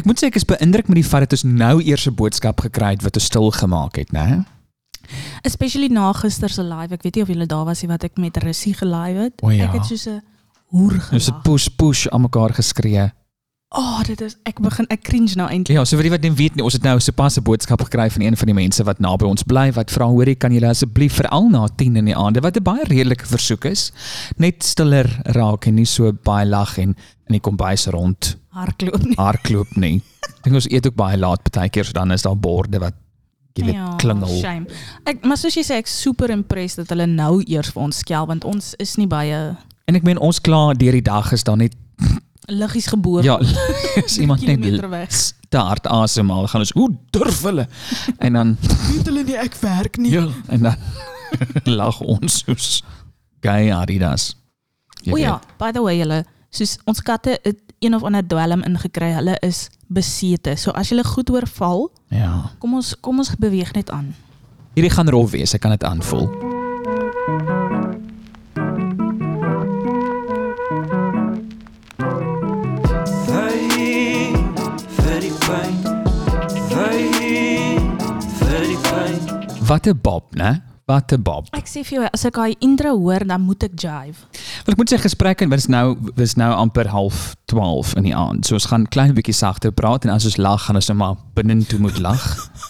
Ek moet sê ek is beïndruk met die feit dat ons nou eers 'n boodskap gekry het wat ons stil gemaak het, né? Especially na gister se live. Ek weet nie of julle daar was nie wat ek met Russie gelive het. O ja. Ek het soos 'n hoer Ons het gelag. push push aan mekaar geskree. Oh, dit is ek begin ek cringe nou eintlik. Ja, so vir die wat nie weet nie, ons het nou sopas 'n boodskap gekry van een van die mense wat naby ons bly wat vra hoorie kan julle asseblief veral na 10 in die aande wat 'n baie redelike versoek is, net stiller raak en nie so baie lag en in die kombuis rond Hardloop Ah, nie. hardloop nie. Ek dink ons eet ook baie laat baie keer, so dan is daar borde wat jy weet ja, klingel. Shame. Ek maar soos jy sê ek is super impressed dat hulle nou eers vir ons skel want ons is nie baie En ek meen ons klaar deur die dag is dan net liggies geboor. ja, is iemand net kilometer weg. te hard asemhaal gaan ons hoe durf hulle? En dan Weet hulle nie ek werk nie. Ja, en dan lag ons soos gay Adidas. Jy O weet. ja, by the way julle, soos ons katte het een of ander dwelm ingekry. Hulle is besete. So as julle goed oorval, Ja. kom ons kom ons beweeg net aan. Hierdie gaan rof wees, ek kan dit aanvoel. Vai vir die pyn. Vai vir die pyn. Wat 'n bob, né? Wat 'n bob. Ek sê vir jou, as ek daai intro hoor, dan moet ek jive. Wel, ek moet sê gesprekke was nou was nou amper half 12 in die aand. So ons gaan klein bietjie sagter praat en as ons lag gaan ons nou maar binne toe moet lag,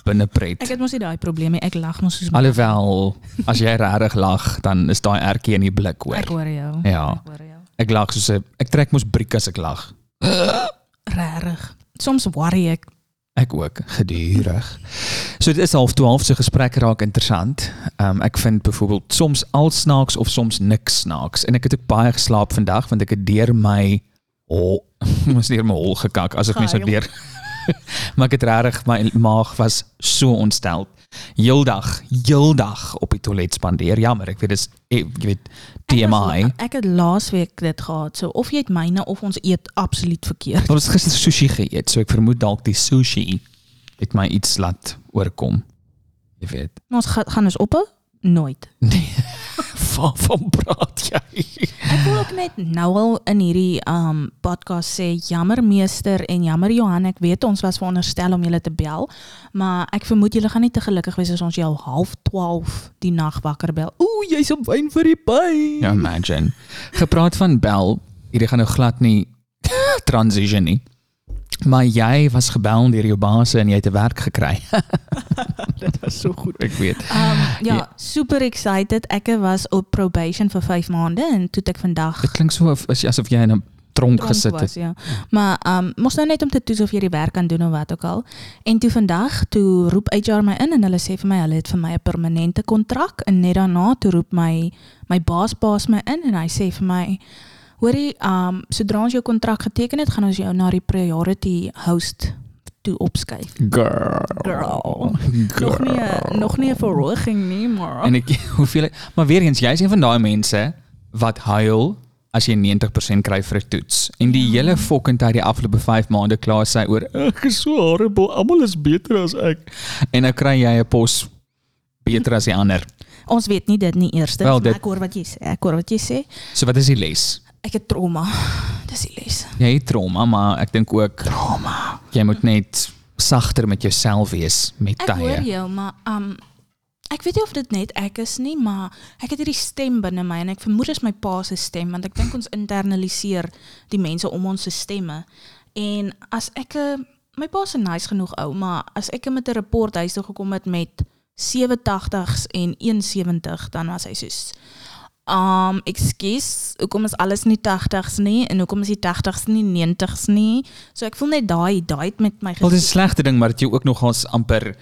binne pret. Ek het mos nie daai probleem nie. Ek lag mos soos Alhoewel as jy regtig lag, dan is daai ertjie in die blik hoor. ek hoor jou. Ja, Ek hoor jou. ek lag soos 'n ek trek mos briek as ek lag. Regtig. Soms worry ek. Ek ook gedurig. So dit is half 12 se gesprek raak interessant. Ehm um, ek vind byvoorbeeld soms al snaaks of soms niks snaaks en ek het ook baie geslaap vandag want ek het deur my hol ons deur my hol gekak as ek mens sou Gehuil. deur. maar ek het regtig my maag was so ontstel. Heeldag, heeldag op die toilet spandeer. Jammer, ek weet dis eh, jy weet Ek was- TMI. Ek het laasweek dit gehad. So of jy het myne of ons eet absoluut verkeerd. Ons het gister sushi geëet, so ek vermoed dalk die sushi het my iets laat oorkom. Jy weet. Maar ons ga, gaan ons op nooit. Van van praat jy? Ek wil ook net nou al in hierdie um podcast sê jammer meester en jammer Johan ek weet ons was veronderstel om julle te bel maar ek vermoed julle gaan nie te gelukkig wees as ons jou half 12 die nag wakker bel. Ooh jy's op wyn vir die pyn. Ja, imagine. Gepraat van bel, hierdie gaan nou glad nie transition nie. Maar jy was gebel deur jou baas en jy het 'n werk gekry. dit was so goed. Ek weet. Um ja, Ja. super excited. Ek was op probation vir 5 maande en toe het ek vandag Dit klink so of as asof jy in 'n tronk dronk gesit was, het. ja. Maar ehm mos nou net om te toets of jy die werk kan doen of wat ook al. En toe vandag toe roep HR my in en hulle sê vir my hulle het vir my 'n permanente kontrak en net daarna toe roep my my baas baas my in en hy sê vir my hoorie ehm sodra ons jou kontrak geteken het, gaan ons jou na die priority host toe opskuif. Girl. Oh, Girl. Girl. Nog nie 'n- nog nie 'n verhoging nie, maar En ek hoeveel maar weer eens jy's een van daai mense wat huil as jy 90% kry vir 'n toets. En die hele fucking tyd die afgelope 5 maande klaar sy oor ek is so horrible, almal is beter as ek. En nou kry jy 'n pos beter as die ander. ons weet nie dit nie eers. Wel, Well, dit- ek hoor wat jy sê. Ek hoor wat jy sê. So wat is die les? Ek het trauma. Dis die les. Jy het trauma, maar ek dink ook trauma. Jy moet net sagter met jouself wees met Ek hoor tye. jou, maar um ek weet nie of dit net ek is nie, maar ek het hierdie stem binne my en ek vermoed dit is my pa se stem want ek dink ons internaliseer die mense om ons se stemme. En as ek 'n my pa se nice genoeg ou, maar as ek met 'n rapport huis toe gekom het met 87s en 170, dan was hy soos Um ekskuus, hoekom is alles nie 80s nie en hoekom is die 80s nie 90s nie? So ek voel net daai daai het met my Wel dis 'n slegte ding, maar dit jou ook nogals amper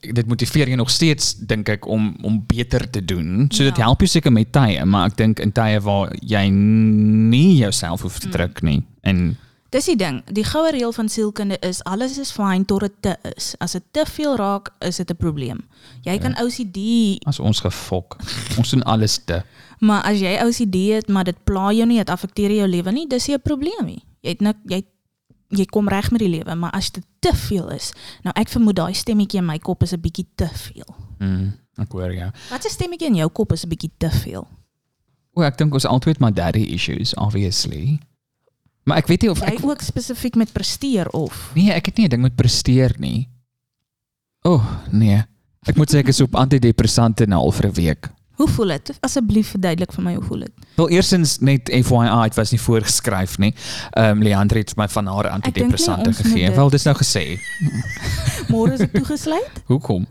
dit motiveer jou nog steeds dink ek om om beter te doen. So dit Ja. help jou seker met tye, maar ek dink in tye waar jy nie jouself hoef te Mm. druk nie. En Dis die ding, die goue reël van sielkunde is alles is fyn tot dit te is. As dit te veel raak, is dit 'n probleem. Jy kan OCD, as ons gefok, ons doen alles te. maar as jy OCD het, maar dit pla jou nie, dit afekteer jou lewe nie, dis nie 'n probleem nie. Jy het nik jy jy kom reg met die lewe, maar as dit te veel is, nou ek vermoed daai stemmetjie in my kop is 'n bietjie te veel. Mm, ek hoor jou. Wat 'n stemmetjie in jou kop is 'n bietjie te veel? O, ek dink ons altyd maar daddy issues obviously. Maar ek weet nie of Jy ek ook spesifiek met presteer of Nee, ek het nie 'n ding met presteer nie. O, oh, nee. Ek moet sê ek is op antidepressante nou al vir 'n week. hoe voel dit? Asseblief verduidelik vir my hoe voel dit? Wel eersins net FYI, dit was nie voorgeskryf nie. Ehm um, Leandre het my van haar dink nie antidepressante ons moet gegee. dit- Wel, dis nou gesê. Môre is dit toegesluit? Hoekom?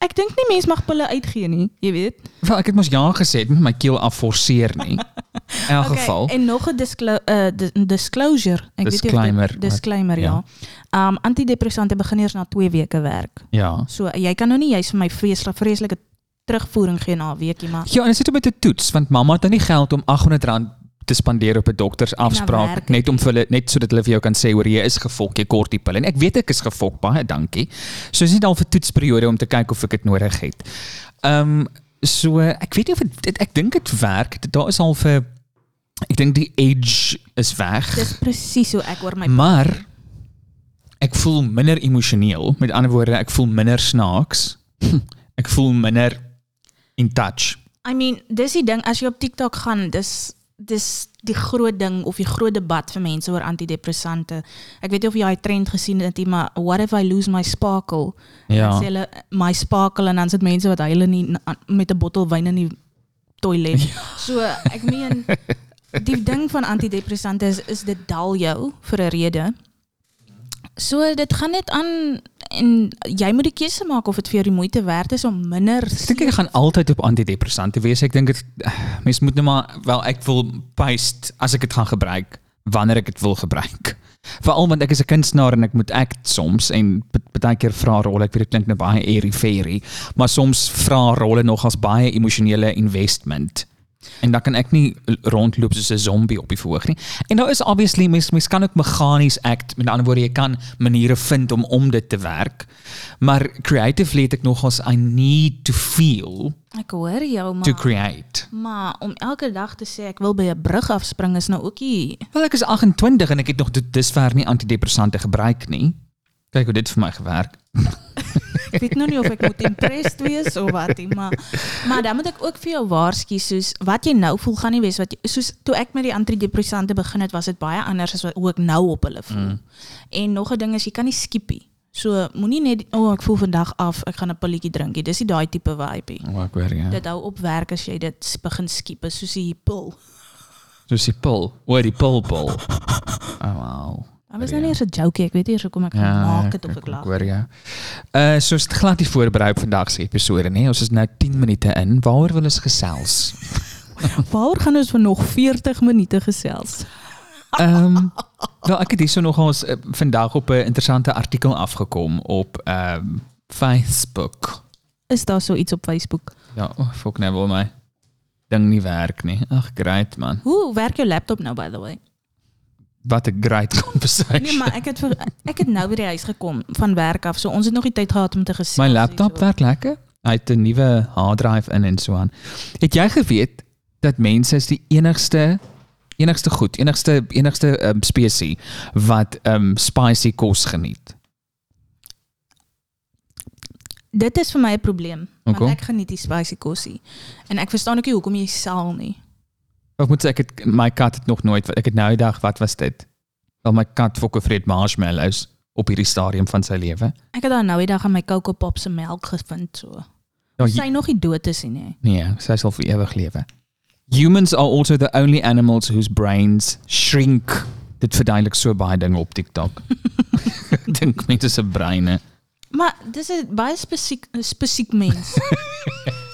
Ek dink nie mens mag pille uitgee nie, jy weet. Wel, ek het mos ja gesê, ek moet my keel afforceer nie. In elk Oké, geval. En nog 'n disclo eh, di- disclosure. Ek weet Disclaimer, nie of dit disclaimer ja. Ehm antidepressante begin eers na 2 weke werk. Ja. So jy kan nou nie jy's vir my vreeslik vreeslike terugvoering gee na 'n weekie maar Ja, en dit sit ook met 'n toets want mamma het nou nie geld om R800 te spandeer op 'n En dan Nou, werk doktersafspraak dit net om vir hulle net sodat hulle vir jou kan sê hoor jy is gefok, jy kort die pil. En ek weet ek is gefok, baie dankie. So is dit al vir toetsperiode om te kyk of ek dit nodig het. Ehm so ek weet nie of dit dit- ek dink dit werk. Dit- Daar is al vir ek dink die age is weg. dis presies hoe ek oor my Maar ek voel minder emosioneel. Met ander woorde, ek voel minder snaaks. Hm, ek voel minder in touch. I mean, dis die ding as jy op TikTok gaan, dis dis die groot ding of die groot debat vir mense oor antidepressante. Ek weet nie of jy daai trend gesien het nie, maar what if I lose my sparkle? Ja. Dan sê hulle my sparkle en dan sit mense wat huil in die, met 'n bottel wyn in die toilet. So, ek meen die ding van antidepressante is is dit dal jou vir 'n rede. So dit gaan net aan en jy moet die keuse maak of dit vir jou die moeite werd is om minder Ek dink ek gaan altyd op antidepressante wees. Ek dink dit mens moet nou maar wel ek wil paste as ek dit gaan gebruik wanneer ek dit wil gebruik. Veral want ek is 'n kunstenaar en ek moet act soms en b- baie keer vra rolle. Ek weet dit klink nou baie airy-fairy, maar soms vra rolle nog as baie emosionele investment. En dan kan ek nie l- rondloop soos 'n zombie op die verhoog nie. En daar is obviously mens mens kan ook meganies act. Met ander woorde, jy kan maniere vind om om dit te werk. Maar creatively het ek nogals I need to feel Ek hoor jou to maar create. maar om elke dag te sê ek wil by 'n brug afspring is nou ook nie. Wel ek is 28 en ek het nog tot dusver nie antidepressante gebruik nie. Kyk hoe dit vir my gewerk. Ek weet nou nie of ek moet impressed wees of wat nie, maar maar dan moet ek ook vir jou waarsku soos wat jy nou voel gaan nie wees wat jy, soos toe ek met die antidepressante begin het was dit baie anders as wat hoe ek nou op hulle voel. En nog 'n ding is jy kan nie skippie. So moenie net o oh, ek voel vandag af, ek gaan 'n pilletjie drink. nie. Dis nie daai tipe vibe nie. Oh, ek weer ja. Dit hou op werk as jy dit s- begin skiep, is soos die pil. Soos die pil, oor die pilpil. Oh wow. Dit was nou nie eens 'n joke, nie. ek weet nie eers hoekom ek gaan maak het of ek lag. Hoor ja. Uh so is dit glad nie voorberei op vandag se episode nie. Ons is nou 10 minute in. Waaroor wil ons gesels? Waaroor gaan ons vir nog 40 minute gesels? Ehm wel ek het hierso nog ons uh, vandag op 'n interessante artikel afgekom op ehm Facebook. Is daar so iets op Facebook? Ja, oh, fok nou wil my ding nie werk nie. Ag, great man. Hoe werk jou laptop nou by the way? Wat 'n great conversation. Nee, maar ek het vir, ek het nou by die huis gekom van werk af, so ons het nog nie tyd gehad om te gesels. My laptop hierso. werk lekker. Hy het 'n nuwe harddrive in en so aan. Het jy geweet dat mense is die enigste enigste goed, enigste enigste um, spesies wat um spicy kos geniet? Dit is vir my 'n probleem. Want Hoekom? ek geniet die spicy kosie. En ek verstaan ook nie hoekom jy sal nie. Of moet sê ek het my kat het nog nooit ek het nou die dag wat was dit? Wel my kat fokke vreet marshmallows op hierdie stadium van sy lewe. Ek het daar nou die dag aan my Coco Pop se melk gevind so. Ja, jy- Sy nog nie dood is nie, nee. nee, sy sal vir ewig lewe. Humans are also the only animals whose brains shrink. Dit verduidelik so baie dinge op TikTok. Ek Dink mense se breine. Maar dis 'n baie spesiek spesiek mens.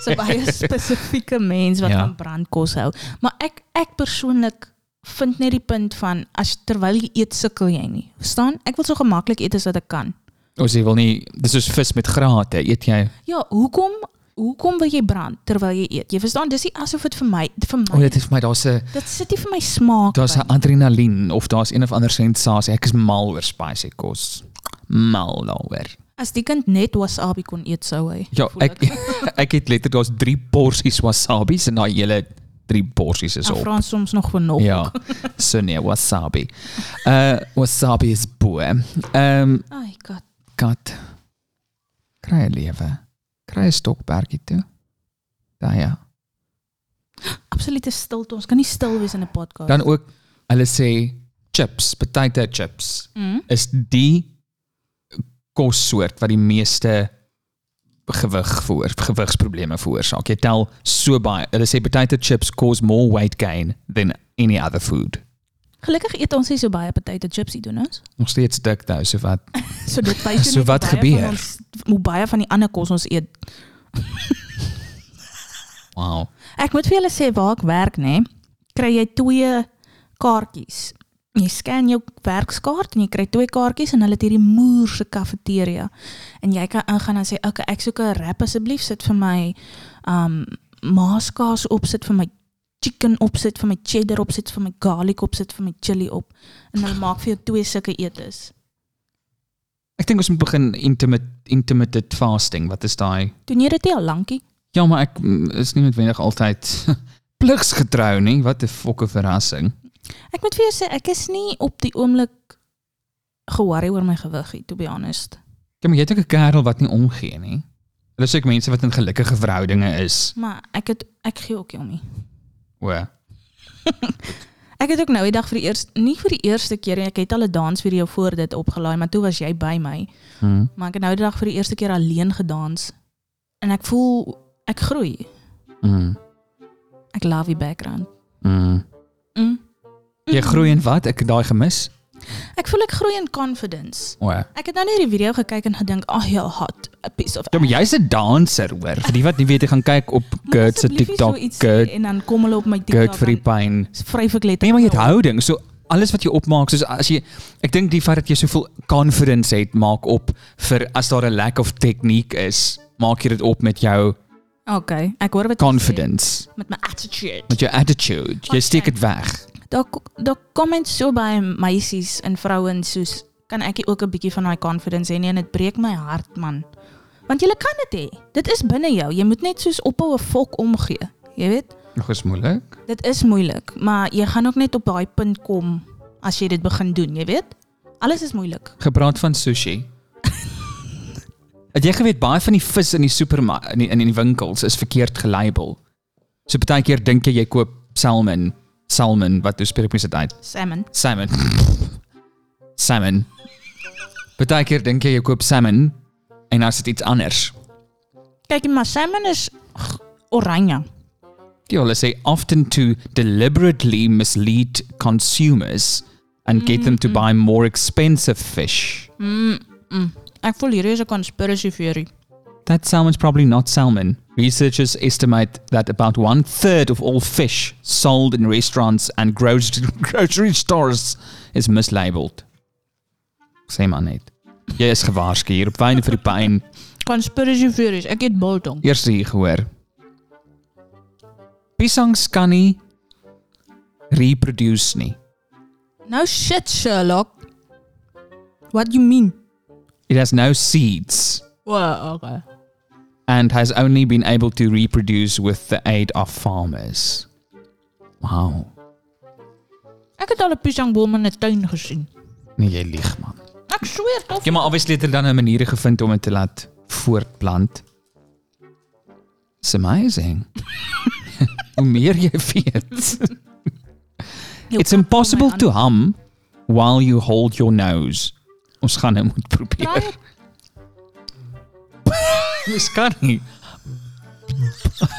so baie spesifieke mens wat Ja. van brandkos hou. Maar ek ek persoonlik vind net die punt van as terwyl jy eet sukkel jy nie. Verstaan? Ek wil so gemaklik eet as wat ek kan. Ons wil nie dis soos vis met grate, eet jy? Ja, hoekom hoekom wil jy brand terwyl jy eet? Jy verstaan, dis nie asof dit vir my vir my O, dit is vir my daar's 'n dit sit nie vir my smaak. daar's by 'n adrenalien of daar's een of ander sensasie. Ek is mal oor spicy kos. Mal daaroor. nie. as die kind net wasabi kon eet sou hy. Ja, voel ek ek het letterlik daar's 3 porsies wasabi's en daai hele 3 porsies is Ek op. vra ons soms nog vir nog. Ja. So nee, wasabi. Uh wasabi is bo. Ehm um, Ai, god. kat. Kry 'n lewe. Kry 'n stokperdjie toe. Daai ja. Absolute stilte. Ons kan nie stil wees in 'n podcast. Dan ook hulle sê chips, potato chips is die kossoort wat die meeste gewig voor gewigsprobleme veroorsaak. Jy tel so baie. Hulle sê potato chips cause more weight gain than any other food. Gelukkig eet ons nie so baie potato chips hier doen ons. Nog steeds dik nou, so wat So dit wys jou So net wat hoe baie gebeur? van Ons, hoe baie van die ander kos ons eet. wow. Ek moet vir julle sê waar ek werk nê, kry jy twee kaartjies. Jy scan jou werkskaart en jy kry twee kaartjies en hulle het hierdie moerse kafeteria. En jy kan ingaan en sê, "Oké, okay, ek soek 'n wrap asseblief, sit vir my um maaskaas op, sit vir my chicken op, sit vir my cheddar op, sit vir my garlic op, sit vir my chili op." En hulle maak vir jou twee sulke etes. Ek dink ons moet begin intimate intermittent fasting. Wat is daai? Doen jy dit nie al lankie? Ja, maar ek mm, is nie noodwendig altyd pligsgetrou nie. Wat 'n fokke verrassing. Ek moet vir jou sê, ek is nie op die oomblik ge-worry oor my gewig nie, to be honest. Ja, maar jy het ook 'n kerel wat nie omgee nie. Hulle sê ek mense wat in gelukkige verhoudinge is. Maar ek het ek gee ook nie om nie. O. Ek het ook nou die dag vir die eers nie vir die eerste keer nie, ek het al 'n dansvideo voor dit opgelaai, maar toe was jy by my. Hm. Maar ek het nou die dag vir die eerste keer alleen gedans en ek voel ek groei. Mm. Ek love die background. Mm. Mm. Jy groei en wat? Ek het daai gemis. Ek voel ek groei in confidence. O. Ja, Ek het nou net die video gekyk en gedink, "Ag, oh, heel hot, a piece of." maar jy's 'n danser hoor. Vir die wat nie weet, jy gaan kyk op Moet Gert se asseblief nie TikTok. so iets sê Gert, en dan kom hulle op my Gert TikTok. vir die pyn. vryf ek letter. Nee, maar jy het houding. So alles wat jy opmaak, soos as jy ek dink die feit dat jy soveel confidence het, maak op vir as daar 'n lack of tegniek is, maak jy dit op met jou Okay, ek hoor wat jy sê. confidence, met my attitude. met jou attitude. Jy Wat steek sê- dit weg. Daar daar kom mens so baie meisies en vrouens soos kan ek nie ook 'n bietjie van daai confidence hê nie en dit breek my hart man. Want jy kan dit hê. Dit is binne jou. Jy moet net soos ophou 'n fok omgee. Jy weet, Nog is moeilik. dit is moeilik, maar jy gaan ook net op daai punt kom as jy dit begin doen, jy weet? Alles is moeilik. Gepraat van sushi. Het jy geweet baie van die vis in die supermark in die, in die winkels is verkeerd gelabel. So baie keer dink jy jy koop salmon, salmon wat hoe spreek mense dit uit? Salmon. Salmon. Salmon. Baie keer dink jy jy koop salmon en as dit iets anders. Kyk, maar salmon is g- oranje. Ja, hulle sê often to deliberately mislead consumers and get them to buy more expensive fish. Ek voel hierdie is 'n conspiracy theory. That salmon's probably not salmon. Researchers estimate that about one third of all fish sold in restaurants and grocery, grocery stores is mislabeled. Sê maar net. Jy is gewaarsku hier op wyne vir die pyn. Conspiracy theories. Ek eet biltong. Eers hier gehoor. Piesangs kan nie reproduce nie. No Nou shit, Sherlock. What you mean? It has no seeds Well, okay. and has only been able to reproduce with the aid of farmers. Wow. Ek het al 'n piesangboom in 'n tuin gesien. Nee, jy lieg man. Ek sweer tog. Ja, maar obviously het hulle dan 'n manier gevind om dit te laat voortplant. It's amazing. Hoe meer jy weet. Ja, It's impossible to hum while you hold your nose. Ons gaan nou moet probeer. Mens kan nie.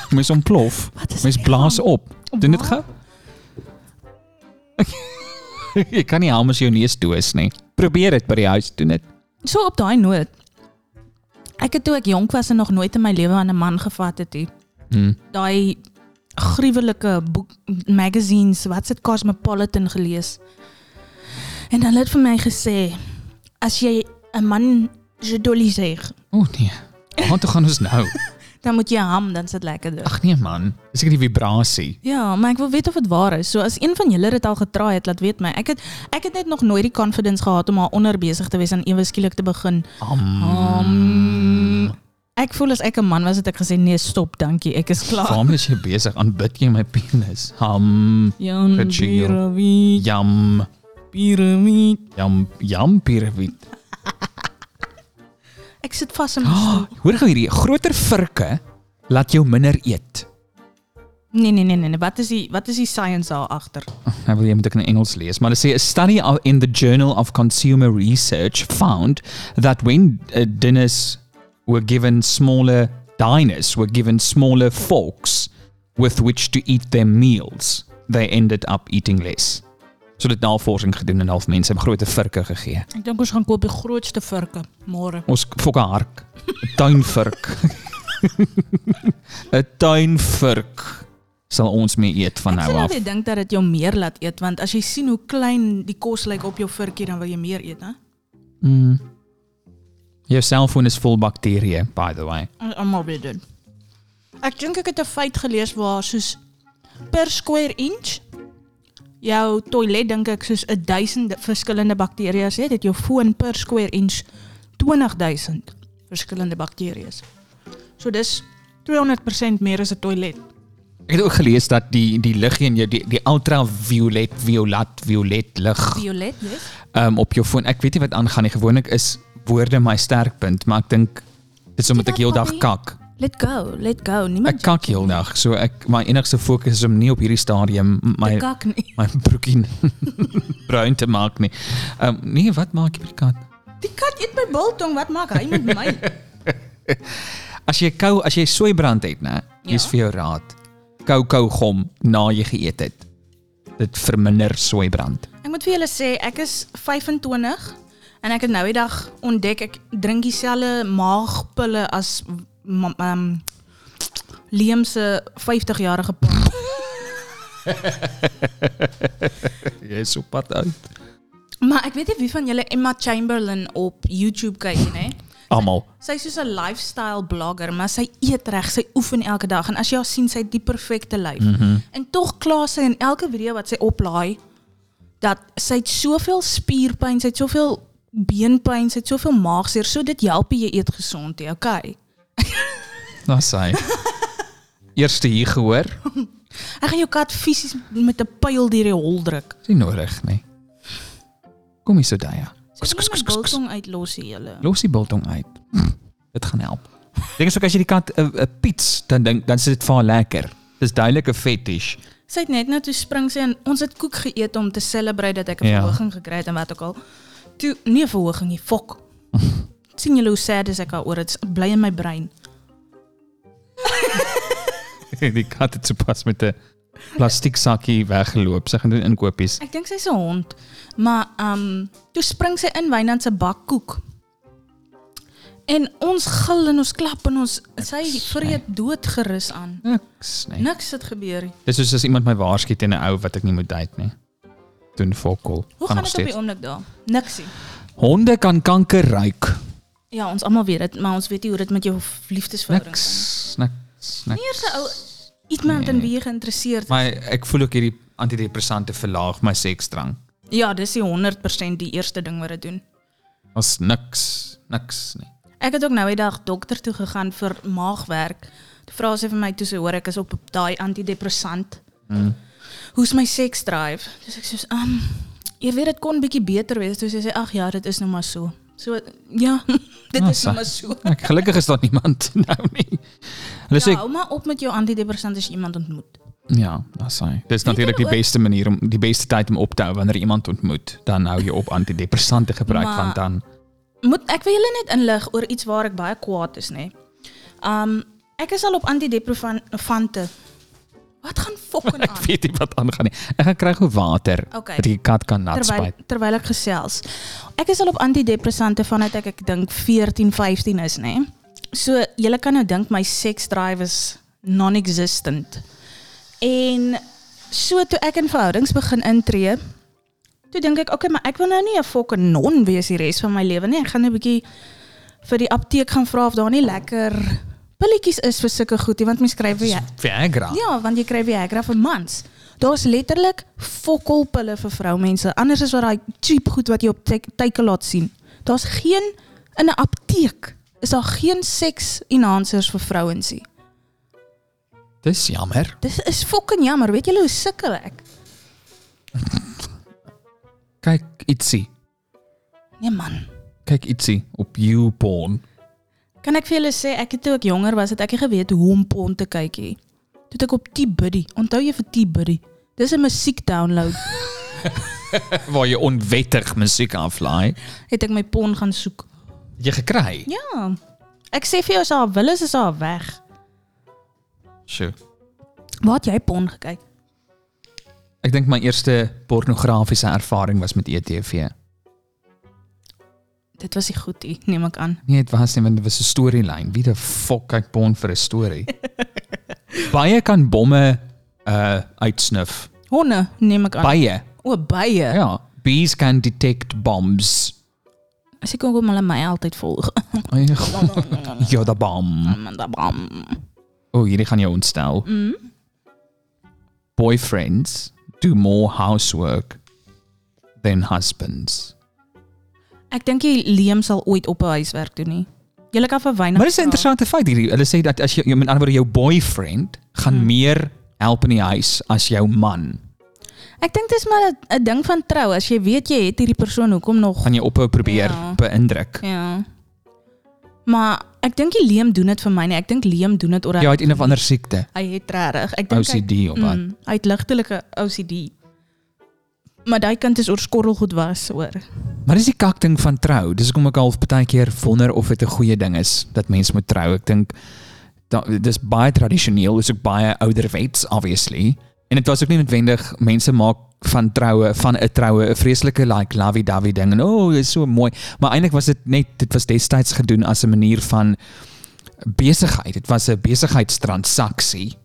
Mens ontplof. Wat is Mens dit blaas op. Doen dit Waar? gou. Jy kan nie hum as jou neus toe is nie. Probeer dit by die huis, doen dit. So op daai noot. Ek het toe ek jonk was en nog nooit in my lewe aan 'n man gevat het nie. Hmm. Daai gruwelike boek magazines, wat's dit Cosmopolitan gelees. En hulle het vir my gesê as jy 'n man gedoliseer, O nee. Waar toe gaan ons nou? dan moet jy ham, dan sit lekkerder. Ag nee man, dis seker die vibrasie. Ja, maar ek wil weet of dit waar is. So as een van julle dit al getraai het, laat weet my. Ek het ek het net nog nooit die confidence gehad om haar onder besig te wees en ewe skielik te begin. Mm. Um, ek voel as ek 'n man was het ek gesê nee, stop, dankie. Ek is klaar. Waarom is jy besig aan bid jy my penis? Ham, Jan Gecheel. Piramid, jam, piramid. jam, jam piramid. Ek sit vas in my stoel. Hoor gou hierdie, groter virke laat jou minder eet. Nee nee nee nee, nee. wat is die wat is die science daar agter? Nou wil jy moet ek in Engels lees, maar dit sê a study of- in the Journal of Consumer Research found that when uh, dinners were given smaller diners were given smaller forks with which to eat their meals, they ended up eating less. So dit het navorsing gedoen en half mense het groter virke gegee. Ek dink ons gaan koop die grootste varke môre. Ons fokke hark, 'n tuinvirk. 'n Tuinvirk sal ons mee eet van Ek nou sê af. dat jy dink dat dit jou meer laat eet want as jy sien hoe klein die kos lyk op jou varkie dan wil jy meer eet, hè? Mm. Jou selfoon is vol bakterieë, by the way. Almal weet dit. Ek dink ek het 'n feit gelees waar soos per square inch jou toilet dink ek soos 1000 verskillende bakterieë het. Het jou foon per square inch 20000 verskillende bakterieë. So dis 200% meer as 'n toilet. Ek het ook gelees dat die die lig in jou die, die ultraviolet violat violet lig Violet, yes. um, op jou foon. Ek weet nie wat aangaan nie. Gewoonlik is woorde my sterkpunt, maar ek dink dit is omdat ek heeldag kak. Let go, let go. Ek Niemand kak heeldag, so ek my enigste fokus is om nie op hierdie stadium my my kak nie. my broekie bruin te maak nie. Ehm um, nee, wat maak jy met die kat? Die kat eet my biltong. Wat maak hy met my? As jy kou, as jy soeibrand het, né? Hier's Ja. vir jou raad. Kou kou gom na jy geëet het. Dit verminder soeibrand. Ek moet vir julle sê, ek is 25 en ek het nou die dag ontdek ek drink dieselfde maagpille as ehm um, Liam se 50-jarige pa. Jy is op pad uit. Maar ek weet nie wie van julle Emma Chamberlain op YouTube kyk nie. Almal. Sy is soos 'n lifestyle blogger, maar sy eet reg, sy oefen elke dag en as jy haar sien, sy het die perfekte lyf. Mm -hmm. En tog kla sy in elke video wat sy oplaai dat sy het soveel spierpyn, sy het soveel beenpyn, sy het soveel maagseer, so dit help jy eet gesond, jy, okay. Daar's hy. Eerste hier gehoor. Ek gaan jou kat fisies met 'n pyl deur die hol druk. Dis nie nodig nie. Kom hier so daai. Kus kus kus kus. Biltong uitlos hier julle. Los die biltong uit. Hm, Dit gaan help. Dink eens ook as jy die kat 'n uh, piets dan dink dan sit dit vir haar lekker. Dis duidelik 'n fetish. Sy het net nou toe spring sy en ons het koek geëet om te celebrate dat ek 'n Ja. verhoging gekry het en wat ook al. Toe nie 'n verhoging nie, fok. sien julle hoe sad is ek daaroor? Dit is- bly in my brein. die kat het sopas met 'n plastiek sakkie weggeloop. Sy gaan doen inkopies. Ek dink sy's 'n hond, maar ehm toe spring sy in Wynand se bak koek. En ons gil en ons klap en ons sy vreet dood gerus aan. Niks nie. Niks het gebeur nie. Dis soos as iemand my waarsku teen 'n ou wat ek nie moet date nie. Doen fokol. Hoe gaan dit op die oomblik daar? Niksie. Honde kan kanker ruik. Ja, ons almal weet dit, maar ons weet nie hoe dit met jou liefdesverhouding gaan. Niks, niks, niks. Eers 'n ou iemand in Nee. wie jy geïnteresseerd is. Maar ek voel ook hierdie antidepressante verlaag my seksdrang. Ja, dis die 100% die eerste ding wat dit doen. Ons niks, niks nie. Ek het ook nou eendag dokter toe gegaan vir maagwerk. Toe vra sy vir my toe sy hoor ek is op daai antidepressant. Mm. Hoe's my seks drive? Dis ek sê, "Um, jy weet dit kon bietjie beter wees." Toe sê sy, "Ag ja, dit is nou maar so." So ja, dit Ah, is sy- nou maar so. Ek gelukkig is daar niemand nou nie. Hulle Ja, sê hou maar op met jou antidepressant as jy iemand ontmoet. ja, dis hy. Dis natuurlik die julle ook- beste manier om die beste tyd om op te hou wanneer jy iemand ontmoet, dan hou jy op antidepressante gebruik Maar- want dan Moet ek wil julle net inlig oor iets waar ek baie kwaad is, nê. Um ek is al op antidepressante. Wat gaan fokken ek aan? weet nie wat aangaan nie. Ek gaan kry gou water Okay. dat die kat kan nat Terwyl spuit. terwyl ek gesels. Ek is al op antidepressante vandat ek ek dink 14, 15 is, nê. So julle kan nou dink my sex drive is non-existent. En so toe ek in verhoudings begin intree, toe dink ek, okay, maar ek wil nou nie 'n fucking non wees die res van my lewe nie. Ek gaan nou 'n bietjie vir die apteek gaan vra of daar nie lekker pilletjies is vir sulke goed nie, want mens skryf vir jou Viagra. Ja, want jy kry Viagra vir mans. Daar's letterlik fokkolpille vir vroumense. Anders is wat daai cheap goed wat jy op Takealot laat sien. Daar's geen in 'n apteek is daar geen seks enhancers vir vrouens nie. Dis jammer. Dis is fucking jammer. Weet julle hoe sukkel ek? Kyk ietsie. Nee man. Kyk ietsie op YouPorn. Kan ek vir julle sê ek het toe ek jonger was, het ek nie geweet hoe om pond te kyk nie. Toe het ek op T-Buddy. Onthou jy vir T-Buddy? Dis 'n musiek download. waar jy onwettig musiek aflaai, het ek my pon gaan soek. jy gekry. Ja. Ek sê vir jou as haar wil is, is haar weg. Sjoe. Waar het jy pon gekyk? Ek dink my eerste pornografiese ervaring was met E ETV. Dit was nie goed nie, neem ek aan. Nee, dit was nie want dit was 'n storielyn. Wie die fok kyk Bond vir 'n storie? baie kan bomme uh uitsnuf. Honde, neem ek aan. Baie. O, baie. Ja, bees can detect bombs. As ek hoekom hulle my altyd volg. ja, da bom. Amanda Bam. O, oh, hierdie gaan jou ontstel. Mm. Boyfriends do more housework than husbands. Ek dink jy Liam sal ooit op 'n huiswerk doen nie. Jy kan vir weinig. Maar dis 'n vra. interessante feit hierdie. Hulle sê dat as jy met ander woorde jou boyfriend gaan Hmm. meer help in die huis as jou man. Ek dink dis maar 'n- 'n ding van trou as jy weet jy het hierdie persoon hoekom nog. Gaan jy ophou probeer Ja. beïndruk. Ja. Maar ek dink die Liam doen dit vir my nie. Ek dink Liam doen dit omdat Ja, hy het een of ander siekte. hy het regtig. Ek dink hy OCD of wat. Mm, hy het ligtelike OCD. Maar daai kind is oor skorrelgoed was hoor. Maar dis die kak ding van trou. Dis hoekom ek al baie keer wonder of dit 'n goeie ding is dat mense moet trou. Ek dink da- dis baie tradisioneel, is ook baie ouderwets obviously. En dit was ook nie noodwendig mense maak van troue, van 'n troue 'n vreeslike like lovey-dovey ding en o, oh, is so mooi. Maar eintlik was dit net dit was destyds gedoen as 'n manier van besigheid. Dit was 'n besigheidstransaksie.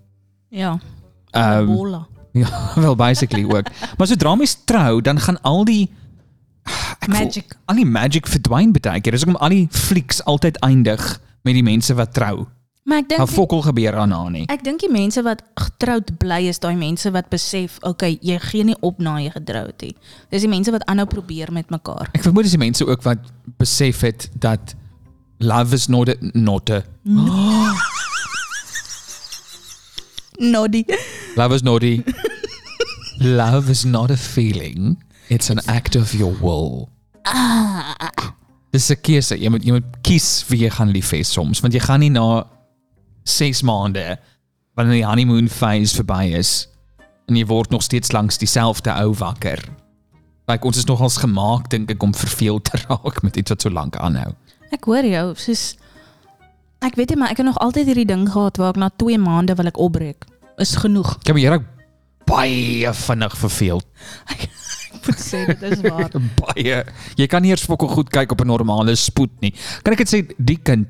Ja. Ehm, Bola. Ja, wel basically ook. Maar sodra mens trou, dan gaan al die ek Magic. Voel, al die magic verdwyn baie keer. Dis hoekom al die flieks altyd eindig met die mense wat trou. Maar ek Maar dink fokol gebeur aan haar nie. Ek dink die mense wat getroud bly is daai mense wat besef, okay, jy gee nie op na jy getroud het nie. Dis die mense wat aanhou probeer met mekaar. Ek vermoed dis die mense ook wat besef het dat love is not a, not a Noddy. love is not a love is not a feeling. It's an act of your will. Ah, Dis 'n keuse. Jy moet jy moet kies wie jy gaan lief hê soms, want jy gaan nie na 6 maande wanneer die honeymoon phase verby is en jy word nog steeds langs dieselfde ou wakker. Like ons is nogals gemaak dink ek om verveel te raak met iets wat so lank aanhou. Ek hoor jou, soos ek weet nie, maar ek het nog altyd hierdie ding gehad waar ek na 2 maande wil ek opbreek. Is genoeg. Ek heb hier ook baie vinnig verveel. Ek sê dit is waar. baie. Jy kan nie eers fokol goed kyk op 'n normale spoed nie. Kan ek dit sê die kind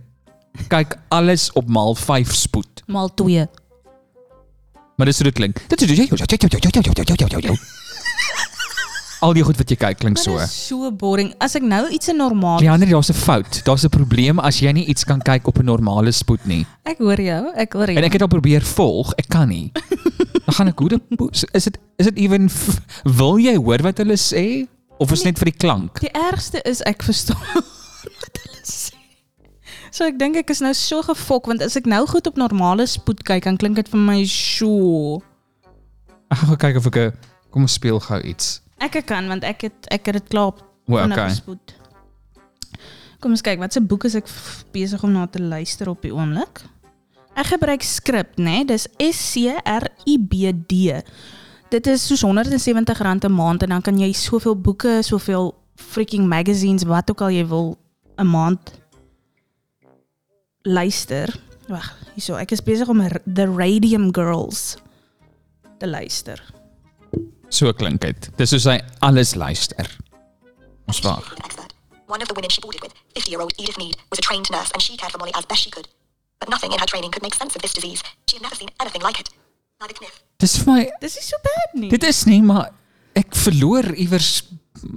kyk alles op maal 5 spoed. Maal 2. Maar dis hoe dit klink. Dit is Al die goed wat jy kyk klink so. Dit is so boring. As ek nou iets in normaal. Leander, daar's 'n fout. Daar's 'n probleem as jy nie iets kan kyk op 'n normale spoed nie. Ek hoor jou, ek hoor En jou. ek het al probeer volg, ek kan nie. Dan gaan ek hoe die poes- is dit is dit even f- wil jy hoor wat hulle sê of is dit net vir die klank? Die ergste is ek verstaan wat hulle sê. So ek dink ek is nou so gefok want as ek nou goed op normale spoed kyk, dan klink dit vir my so. Ek gaan gou kyk of ek 'n kom ons speel gou iets. Ek kan want ek het ek het dit klaar op O, vinnig okay. spoed. Kom ons kyk, watse boek is ek f- besig om na te luister op die oomblik? Ek gebruik Script, né? Nee? Dis S C R I B D. Dit is soos R170 'n maand en dan kan jy soveel boeke, soveel freaking magazines, wat ook al jy wil 'n maand luister. Wag, hierso, ek is besig om R- The Radium Girls te luister. So klink dit. Dis soos hy alles luister. Ons wag. expert. One of the women she boarded with, 50-year-old Edith Mead, was a trained nurse and she cared for Molly as best she could. But nothing in her training could make sense of this disease. She had never seen anything like it. Neither Kniff. Dis vir my Dis nie so bad nie. dit is nie maar ek verloor iewers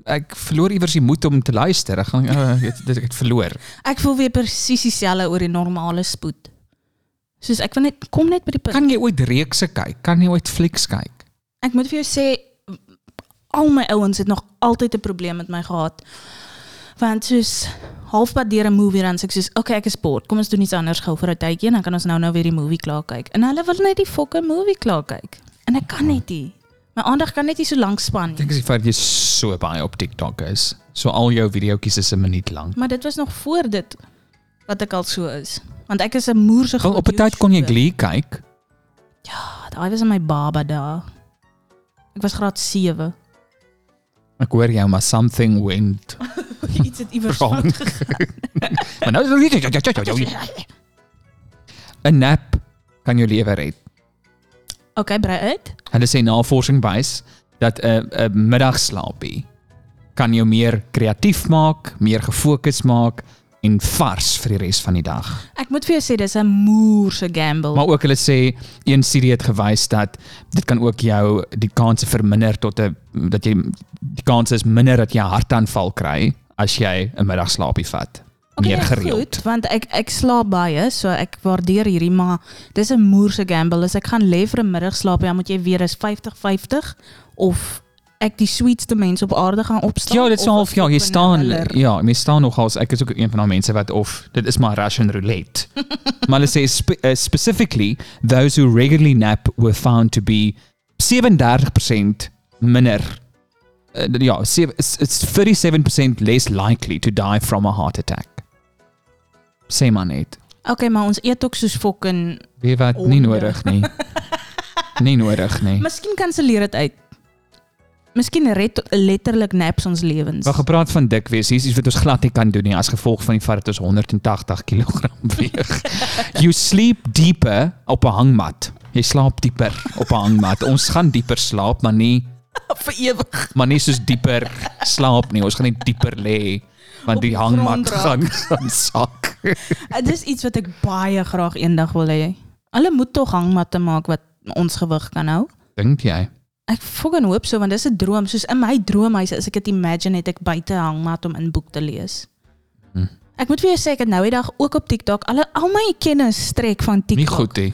ek verloor iewers die moed om te luister. Ek gaan uh, dit dit- ek het verloor. Ek voel weer presies dieselfde oor die normale spoed. Soos ek wil net kom net by die punt. Kan jy ooit reekse kyk? Kan jy ooit flieks kyk? Ek moet vir jou sê al my ouens het nog altyd 'n probleem met my gehad. Want soos halfpad deur 'n movie dan sê ek soos, "Oké, okay, ek is bored. Kom ons doen iets anders gou vir 'n tydjie en dan kan ons nou nou weer die movie klaar kyk." En hulle wil net die fucking movie klaar kyk. En ek kan net nie. My aandag kan net nie so lank span Dink nie. as jy vir jy so baie op TikTok is. So al jou videoetjies is 'n minuut lank. Maar dit was nog voor dit wat ek al so is. Want ek is 'n moerse Wel, op 'n tyd kon jy Glee kyk. Ja, daai was in my baba dae. Ek was graad 7. Ek hoor jou maar something went Iets het iewers wrong. fout gegaan. maar nou is dit 'n nap kan jou lewe red. Okay, brei uit. Hulle sê navorsing wys dat 'n 'n middagslaapie kan jou meer kreatief maak, meer gefokus maak en vars vir die res van die dag. Ek moet vir jou sê dis 'n moerse gamble. Maar ook hulle sê een studie het gewys dat dit kan ook jou die kanse verminder tot 'n dat jy die kans is minder dat jy 'n hartaanval kry as jy 'n middagslaapie vat. Oké, meer nee, gereeld. Goed, want ek ek slaap baie, so ek waardeer hierdie, maar dis 'n moerse gamble. As ek gaan lê vir 'n middagslaap, dan moet jy weer is 50-50 of ek die sweetste mens op aarde gaan opstaan. Ja, dit of is half ek ja, jy koop 'n staan Nutella. ja, jy staan nogals ek is ook een van daai mense wat of dit is maar Russian roulette. maar hulle sê spe, uh, specifically those who regularly nap were found to be 37% minder uh, ja, sev- it's it's 37% less likely to die from a heart attack. Sê maar net. Okay, maar ons eet ook soos fucking. Weet wat nie Onder. nodig nie. nie nodig nie. Miskien kanselleer dit uit. Miskien red letterlik naps ons lewens. Wat gepraat van dik wees, hier is iets wat ons glad nie kan doen nie as gevolg van die feit dat ons 180 kg weeg. you sleep deeper op 'n hangmat. Jy slaap dieper op 'n hangmat. Ons gaan dieper slaap, maar nie vir ewig. maar nie soos dieper slaap nie. Ons gaan net dieper lê want Op die die hangmat grond gaan, raak. gaan sak. Eh, Dis iets wat ek baie graag eendag wil hê. Hulle moet tog hangmatte maak wat ons gewig kan hou. Dink jy? Ek fucking hoop so want dis 'n droom. Soos in my droomhuis as ek dit imagine het ek buite 'n hangmat om in boek te lees. Hm. Ek moet vir jou sê ek het nou die dag ook op TikTok alle al my kennis strek van TikTok. Nie goed hè.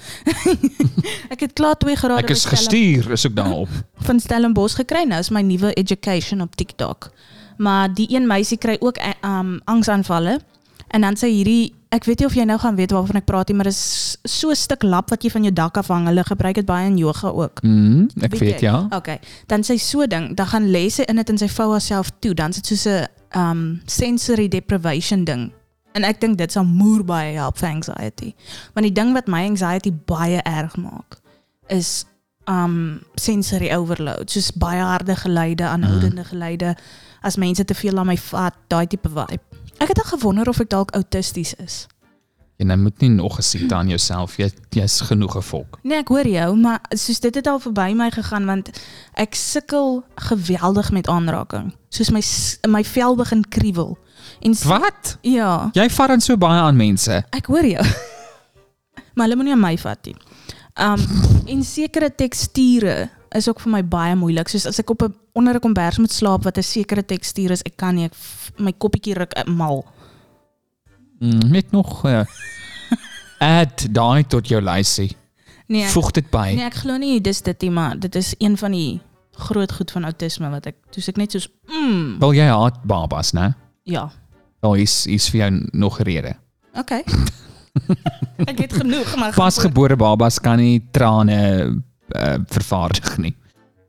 Ek het klaar 2 grade Ek is by Stellenbosch- gestuur is ook daarop. van Stellenbosch gekry. Nou is my nuwe education op TikTok. Maar die een meisie kry ook eh, um angsaanvalle. En dan sê hierdie, ek weet nie of jy nou gaan weet waarvan ek praat nie, maar dis so 'n stuk lap wat jy van jou dak af hang. Hulle gebruik dit baie in yoga ook. Mm, ek Weet weet jy? ja. Okay, dan sy so ding, dan gaan lê sy in dit en sy vou haarself toe, dan sit soos 'n um sensory deprivation ding. En ek dink dit sal moer baie help vir anxiety. Want die ding wat my anxiety baie erg maak is um sensory overload, soos baie harde geluide, aanhoudende Mm. geluide, as mense te veel aan my vat, daai tipe vibe. Ek het al gewonder of ek dalk autisties is. En jy nou moet nie nog 'n siekte aan jouself. Jy jy's genoeg gefok. Nee, ek hoor jou, maar soos dit het al verby my gegaan want ek sukkel geweldig met aanraking. Soos my s- my vel begin kriewel. En s- Wat? Ja, Jy vat dan so baie aan mense. ek hoor jou. maar hulle moenie aan my vat nie. Um en sekere teksture is ook vir my baie moeilik. Soos as ek op 'n onder 'n kombers moet slaap wat 'n sekere tekstuur is, ek kan nie ek, f- my koppietjie ruk ek mal. Mm, net nog uh, add daai tot jou lysie. Nee. ek- Voeg dit by. Nee, ek glo nie dis dit nie, maar dit is een van die groot goed van outisme wat ek toets ek net soos mm, Wil jy haat babas, né? ja. Daar is is vir jou nog 'n rede. Okay. ek het genoeg maar Pasgebore babas kan nie trane uh, vervaardig nie.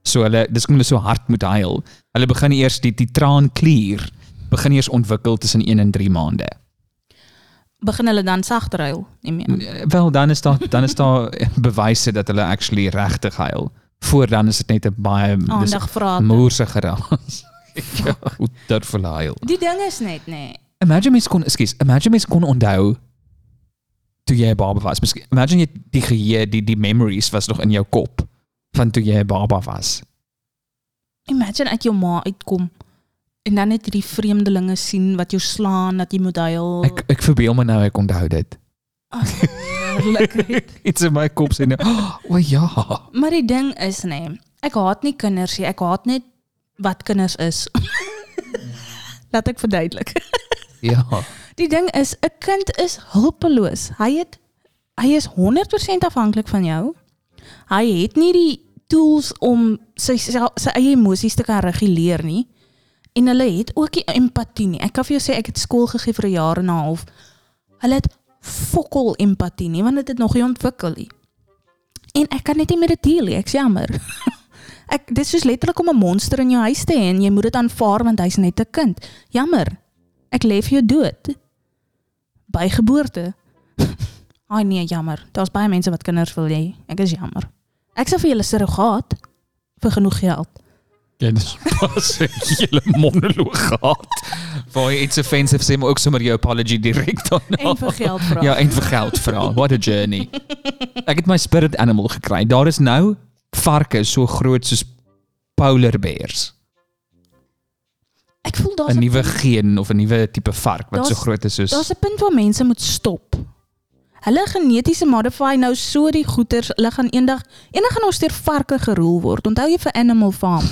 So hulle dis kom hulle so hard moet huil. Hulle begin eers die die traanklier begin eers ontwikkel tussen 1 en 3 maande. begin hulle dan sagter huil, nie meer. Eh, Wel dan is daar dan is daar bewyse dat hulle actually regtig huil. Voor dan is dit net 'n baie dis Aandag vra. moerse geraas. ja, hoe durf hulle huil? Die ding is net nê. Nee. Imagine mens kon, ekskuus, imagine mens kon onthou toe jy 'n baba was. Miskien imagine jy die geheue, die die memories was nog in jou kop van toe jy 'n baba was. Imagine uit jou ma uitkom en dan net hierdie vreemdelinge sien wat jou slaan dat jy moet huil. Ek ek verbeel my nou ek onthou dit. Lekker. Iets in my kop sê nou, "Oh, o ja, maar die ding is nê, nee, ek haat nie kinders nie. Ek haat net wat kinders is. Mm. Laat ek verduidelik. ja." Die ding is 'n kind is hulpeloos. Hy het hy is 100% afhanklik van jou. Hy het nie die tools om sy sy, sy eie emosies te kan reguleer nie. En hulle het ook nie empatie nie. Ek kan vir jou sê ek het skool gegee vir 'n jaar en 'n half. Hulle het fokol empatie nie want dit het nog nie ontwikkel nie. En ek kan net nie met dit deel nie. Ek's jammer. ek dis soos letterlik om 'n monster in jou huis te hê en jy moet dit aanvaar want hy's net 'n kind. Jammer. Ek lê vir jou dood. By geboorte. Ai nee, jammer. Daar's baie mense wat kinders wil hê. Ek is jammer. Ek sal vir julle surrogaat vir genoeg geld. Jy het pas 'n hele monoloog gehad. Waar jy iets offensive sê maar ook sommer jou apology direk daarna. En vir geld vra. Ja, en vir geld vra. What a journey. Ek het my spirit animal gekry. Daar is nou varke so groot soos polar bears. Ek voel daar's 'n 'n Nuwe geen of 'n nuwe tipe vark wat so Daar's- groot is soos Daar's 'n punt waar mense moet stop. Hulle genetiese modify nou so die goeters, hulle gaan eendag eendag gaan ons deur varke geroel word. Onthou jy vir Animal Farm?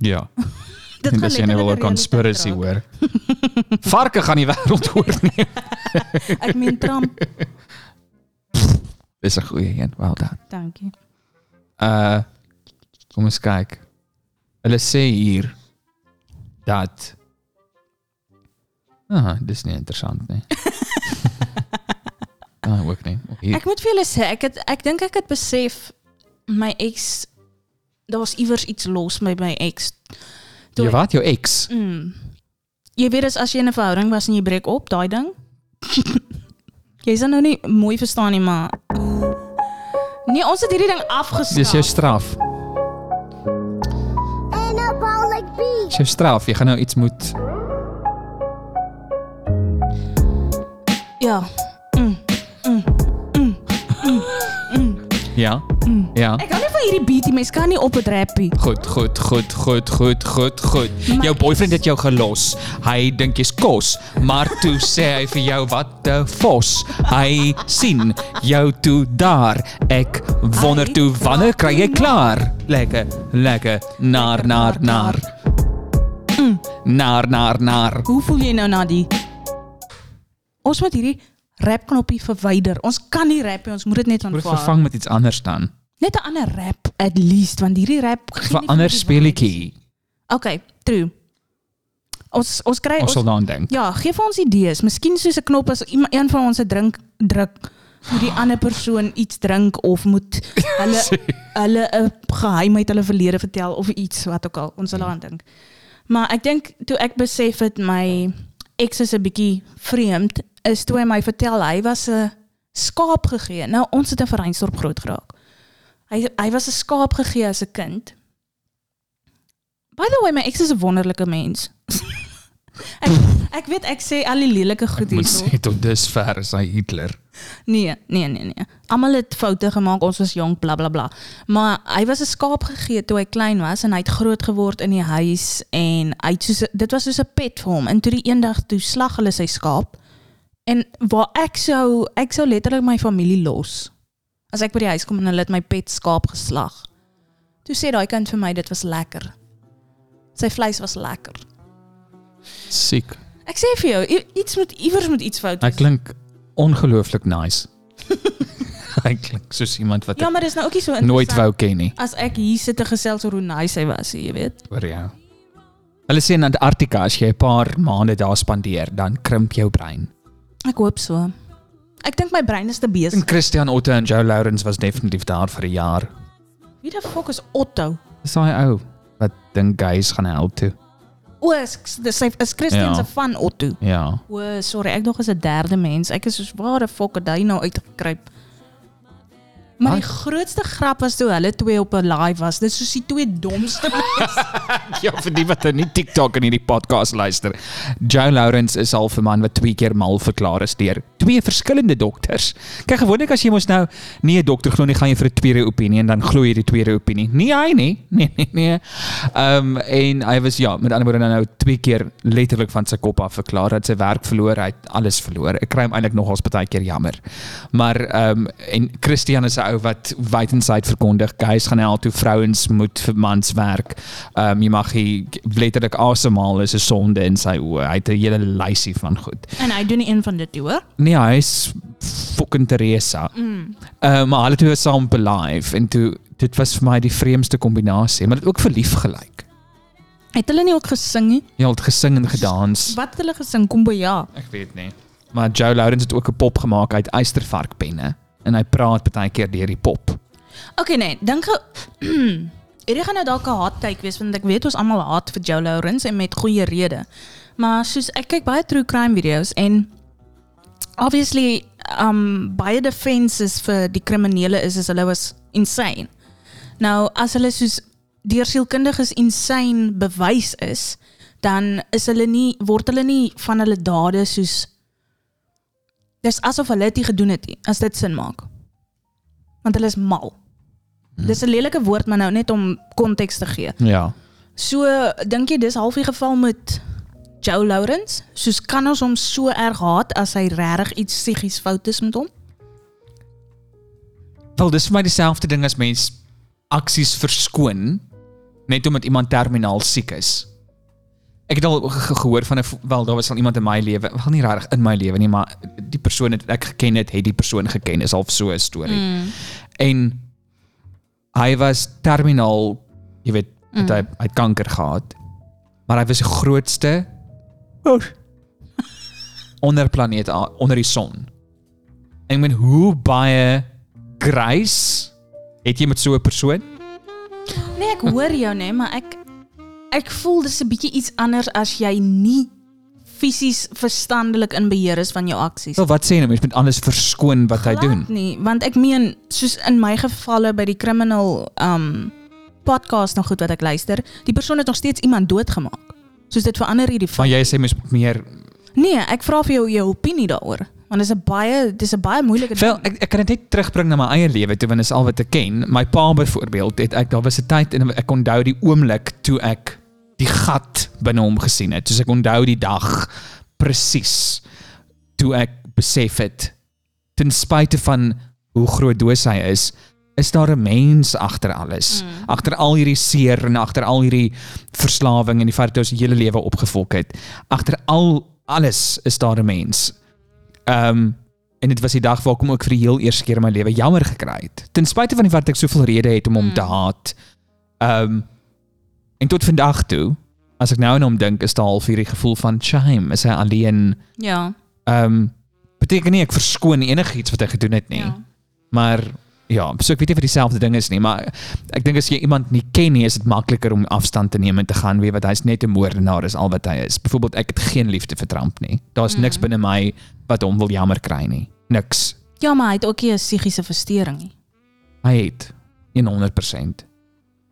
ja. Dit En dis letterlik 'n een hele realiteit conspiracy raak. hoor. Varke gaan die wêreld oorneem. Ek meen Trump, Dis 'n goeie een. Well done. dankie. Uh kom eens kyk. Hulle sê hier dat Ah, dis nie interessant nie. ah, ook nie. Oh, Hier. Ek moet vir julle sê, ek het ek dink ek het besef my ex daar was iewers iets los met my ex. Jy wat jou ex. Mm. Jy weet as as jy in 'n verhouding was en jy breek op, daai ding. jy sal nou nie mooi verstaan nie, maar Nee, ons het hierdie ding Dis jou afgeskaf. straf. Anabolic beach. Dis jou straf. Jy gaan nou iets moet Ja. Ja. Ja. Ek hou nie van hierdie beat, die mens kan nie op dit rappie. Goed, goed, goed, goed, goed, goed, goed. Maar jou ek- boyfriend het jou gelos. Hy dink jy's kos, maar toe sê hy vir jou wat 'n vos. Hy sien jou toe daar. Ek wonder Hy toe wanneer kry jy praat klaar? Lekker, lekker, nar nar nar. Mm. Nar nar nar. Hoe voel jy nou na die Ons moet hierdie rap knoppie verwyder. Ons kan nie rap nie, ons moet dit net Word aanvaar. vervang met iets anders dan. Net 'n ander rap at least, want hierdie rap gee nie Vir vir ander die speletjie. vibes. Okay, true. Ons ons kry Ons sal daaraan dink. Ja, gee vir ons idees. Miskien soos 'n knop as iemand een van ons 'n drink druk moet die ander persoon iets drink of moet hulle hulle 'n geheim uit hulle verlede vertel of iets wat ook al. Ons sal daaraan dink. Maar ek dink toe ek besef het my ex is 'n bietjie vreemd, is toe hy my vertel hy was 'n skaap gegee. Nou ons het in Vereinsdorp groot geraak. Hy hy was 'n skaap gegee as 'n kind. By the way, my ex is 'n wonderlike mens. ek ek weet ek sê al die lelike goed Moet hierso. sê tot dusver is hy Hitler. Nee, nee, nee, nee. Almal het foute gemaak. Ons was jonk, blablabla. Bla, bla. Maar hy was 'n skaap gegee toe hy klein was en hy het groot geword in die huis en hy het soos 'n- dit was soos 'n pet vir hom. En toe die eendag toe slag hulle sy skaap. En waar ek sou ek sou letterlik my familie los. As ek by die huis kom en hulle het my pet skaap geslag. Toe sê daai kind vir my dit was lekker. Sy vleis was lekker. Siek. Ek sê vir jou, i- iets moet iewers moet iets fout Hy wees. klink ongelooflik nice. hy klink soos iemand wat Ja, ek maar dis nou ook nie so nooit interessant wou ken nie, as ek hier sit te gesels oor hoe nice hy was, jy weet. hoor jy. Hulle sê in Antarktika as jy 'n paar maande daar spandeer, dan krimp jou brein. Ek hoop so. Ek dink my brein is te En besig. Christian Otto en Joe Lawrence was definitief daar vir 'n jaar. Wie die fuck is Otto? Dis daai ou wat dink guys gaan hel toe. O, is dis sy is Ja. Christian se van Otto. Ja. O, sorry, ek dog is 'n derde mens. Ek is soos ware fuck het hy nou uitgekruip. Maar die grootste grap was toe hulle twee op 'n live was. Dis soos die twee domste. Ja, vir die wat nou nie TikTok en hierdie podcast luister. Joe Lawrence is al 'n man wat twee keer mal verklaar is deur twee verskillende dokters. Kyk, gewoonlik as jy mos nou nie 'n dokter glo nie, gaan jy vir 'n tweede opinie en dan glo jy die tweede opinie. Nie hy nie. Nee, nee, nee. Ehm um, en hy was ja, met ander woorde nou twee keer letterlik van sy kop af verklaar dat sy werk verloor, hy het alles verloor. Ek kry hom eintlik nogals baie keer jammer. Maar ehm um, en Christian is 'n ou wat wyd en suid verkondig, guys gaan hel toe vrouens moet vir mans werk. Ehm um, jy mag hy letterlik asemhaal is 'n sonde in sy oë. Hy het 'n hele lysie van goed. en hy doen nie een van dit toe, hoor. Nee, hy is fucking Teresa. Mm. Uh, maar hulle twee was saam op 'n live en toe dit was vir my die vreemdste kombinasie, maar dit ook verlief gelyk. Het hulle nie ook gesing nie? Jy het gesing en gedans. Wat het hulle gesing? Kumbaya. Ek weet nie. Maar Joe Lawrence het ook 'n pop gemaak uit eystervarkpenne en hy praat baie keer deur die pop. Okay nee, dink gou hierdie gaan nou dalk 'n hot take wees want ek weet ons almal haat vir Joe Lawrence en met goeie rede. Maar soos ek kyk baie true crime video's en obviously um baie defenses vir die kriminele is as hulle was insane. Nou, as hulle soos deur sielkundiges insane bewys is, dan is hulle nie word hulle nie van hulle dade soos dis asof hulle dit nie gedoen het nie, as dit sin maak. Want hulle is mal. Mm. Dis 'n lelike woord, maar nou net om konteks te gee. Ja. So dink jy dis half die geval met Joe Lawrence? Soos kan ons hom so erg haat as hy regtig iets psigies fout is met hom? Wel, dis vir my dieselfde ding as mens aksies verskoon net omdat iemand terminaal siek is. Ek het al ge- gehoor van 'n v- wel daar was al iemand in my lewe, wel nie regtig in my lewe nie, maar die persoon wat ek geken het, het die persoon geken is half so 'n storie. Mm. En hy was terminaal, jy weet, mm. hy hy het kanker gehad. Maar hy was die grootste oh, onder planeet A- onder die son. En ek meen hoe baie grace het jy met so 'n persoon? Nee, ek hoor jou nê, maar ek ek voel dis 'n bietjie iets anders as jy nie fisies verstandelik in beheer is van jou aksies. Wel wat sê nou mens moet alles verskoon wat hy doen. Glad Nie, want ek meen soos in my gevalle by die criminal um podcast nog goed wat ek luister, die persoon het nog steeds iemand doodgemaak. Soos dit verander hierdie Maar jy sê mens moet meer Nee, ek vra vir jou jou opinie daaroor, want dit is 'n baie dis 'n baie moeilike Wel, ek ek kan dit net terugbring na my eie lewe toe want dit is al wat ek ken. My pa byvoorbeeld, het ek daar was 'n tyd en ek onthou die oomblik toe ek die gat binne hom gesien het. Soos ek onthou die dag presies toe ek besef het ten spyte van hoe groot doos hy is, is daar 'n mens agter alles. Mm. Agter al hierdie seer en agter al hierdie verslawing en die feit dat ons die hele lewe opgevolg het. Agter al alles is daar 'n mens. Ehm um, en dit was die dag waar ek hom ook vir die heel eerste keer in my lewe jammer gekry het. Ten spyte van die feit dat ek soveel redes het om hom mm. te haat. Ehm um, en tot vandag toe, as ek nou aan hom dink, is daar half hierdie gevoel van shame, is hy alleen. Ja. Ehm um, beteken nie ek verskoon enigiets wat hy gedoen het nie. Ja. Ja. Maar ja, so ek weet nie of dit dieselfde ding is nie, maar ek dink as jy iemand nie ken nie, is dit makliker om afstand te neem en te gaan weet wat hy's net 'n moordenaar is al wat hy is. Byvoorbeeld ek het geen liefde vir Trump nie. Ja. Daar's mm. niks binne my wat hom wil jammer kry nie. Niks. Ja, maar hy het ook nie 'n psigiese verstoring nie. Hy het 100%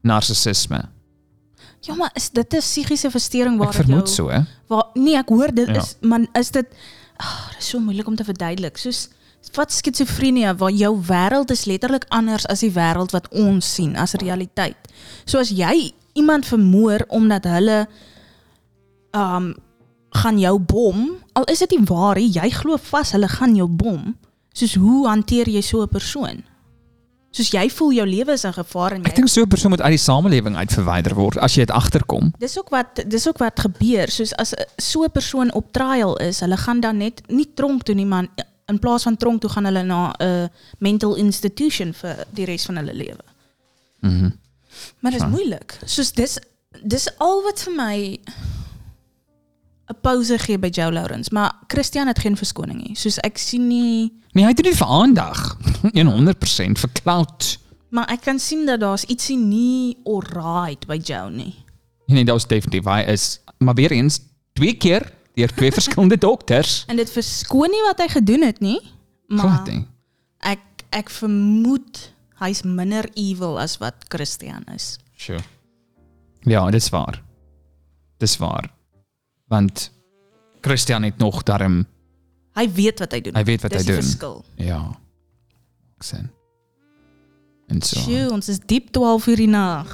narcissisme. Ja, maar is dit 'n psigiese verstoring waar Ek dit vermoed so. jou hè. waar nee, ek hoor dit Ja. ja. is man is dit oh, dit is so moeilik om te verduidelik. Soos wat skitsofrenie waar jou wêreld is letterlik anders as die wêreld wat ons sien as realiteit. So as jy iemand vermoor omdat hulle um gaan jou bom, al is dit nie waar nie, jy glo vas hulle gaan jou bom. Soos hoe hanteer jy so 'n persoon? Soos jy voel jou lewe is in gevaar en jy Ek dink so 'n persoon moet uit die samelewing uit verwyder word as jy dit agterkom. Dis ook wat dis ook wat gebeur, soos as eh, so 'n persoon op trial is, hulle gaan dan net nie tronk toe nie, maar in- in plaas van tronk toe gaan hulle na 'n mental institution vir die res van hulle lewe. Mhm. Maar dit is moeilik. Soos dis dis al wat vir my 'n pause gee by Joe Lawrence, maar Christian het geen verskoning nie. Soos ek sien nie, Nee, hy het dit nie vir aandag. 100% vir clout. maar ek kan sien dat daar's ietsie nie alright by Joe nie. Nee, dit was definitief hy is maar weer eens twee keer deur twee verskillende dokters. En dit verskoon nie wat hy gedoen het nie, maar Glad nie. Ek ek vermoed hy's minder evil as wat Christian is. Sure. Ja, dis waar. Dis waar. Want Christian het nog darm. Hy weet wat hy doen. Hy weet wat Dis hy die doen. Verskil. Ja. Ek sien. En so. Sjoe, ons is diep 12 uur die nag.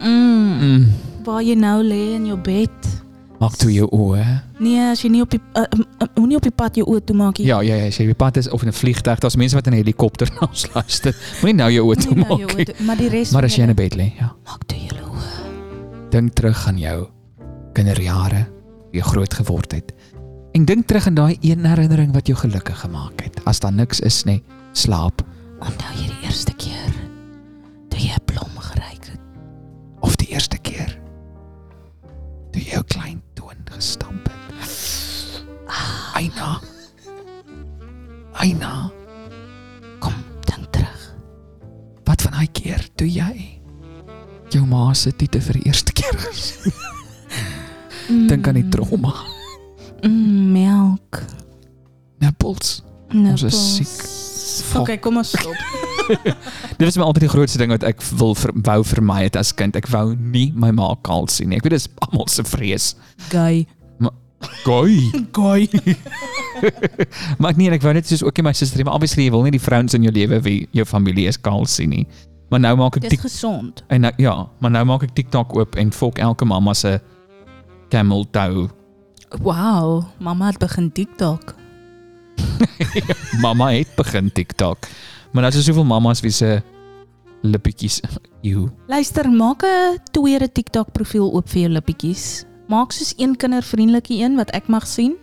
Mm, Mm, waar jy nou lê in jou bed. maak toe jou oë. Nee, as jy nie op die uh, um, uh, moenie op die pad jou oë toemaak nie. Ja, ja, ja, as jy op die pad is of in 'n vliegtuig, daar's mense wat in 'n helikopter na ons luister. Moenie nou jou oë toe Moenie nou jou maak. oë nie. toe- Maar die res Maar van as jy in 'n julle- bed lê, ja. maak toe julle oë. Dink terug aan jou kinderjare, hoe jy groot geword het. En dink terug aan daai een herinnering wat jou gelukkig gemaak het. As daar niks is nie, slaap Onthou jy die Nou, eerste keer toe jy 'n blom geryk het? of die eerste keer toe jy jou klein toon gestamp het. Aina. Aina, Kom, dink terug. wat van daai keer toe jy jou ma se tiete vir die eerste keer gesien? het? Dink aan die trauma, Mm, melk. nippels. Nippels. is Okay, kom ons stop. Dit was my altyd die grootste ding wat ek wil ver, wou vermy het as kind. Ek wou nie my ma kaal sien nie. Ek weet dis almal se vrees. Guy. Gooi. Guy. Maar ek nee, ek wou net soos ook in my suster, maar obviously jy wil nie die vrouens in jou lewe wie jou familie is kaal sien nie. Maar nou maak ek Dis tik gesond. en nou, ja, maar nou maak ek TikTok oop en fok elke mamma se camel toe. Wow, mamma het begin TikTok. Mamma het begin TikTok. Maar daar is soveel mammas wie se lippietjies ew. Luister, maak 'n tweede TikTok profiel oop vir jou lippietjies. Maak soos een kindervriendelikie een wat ek mag sien.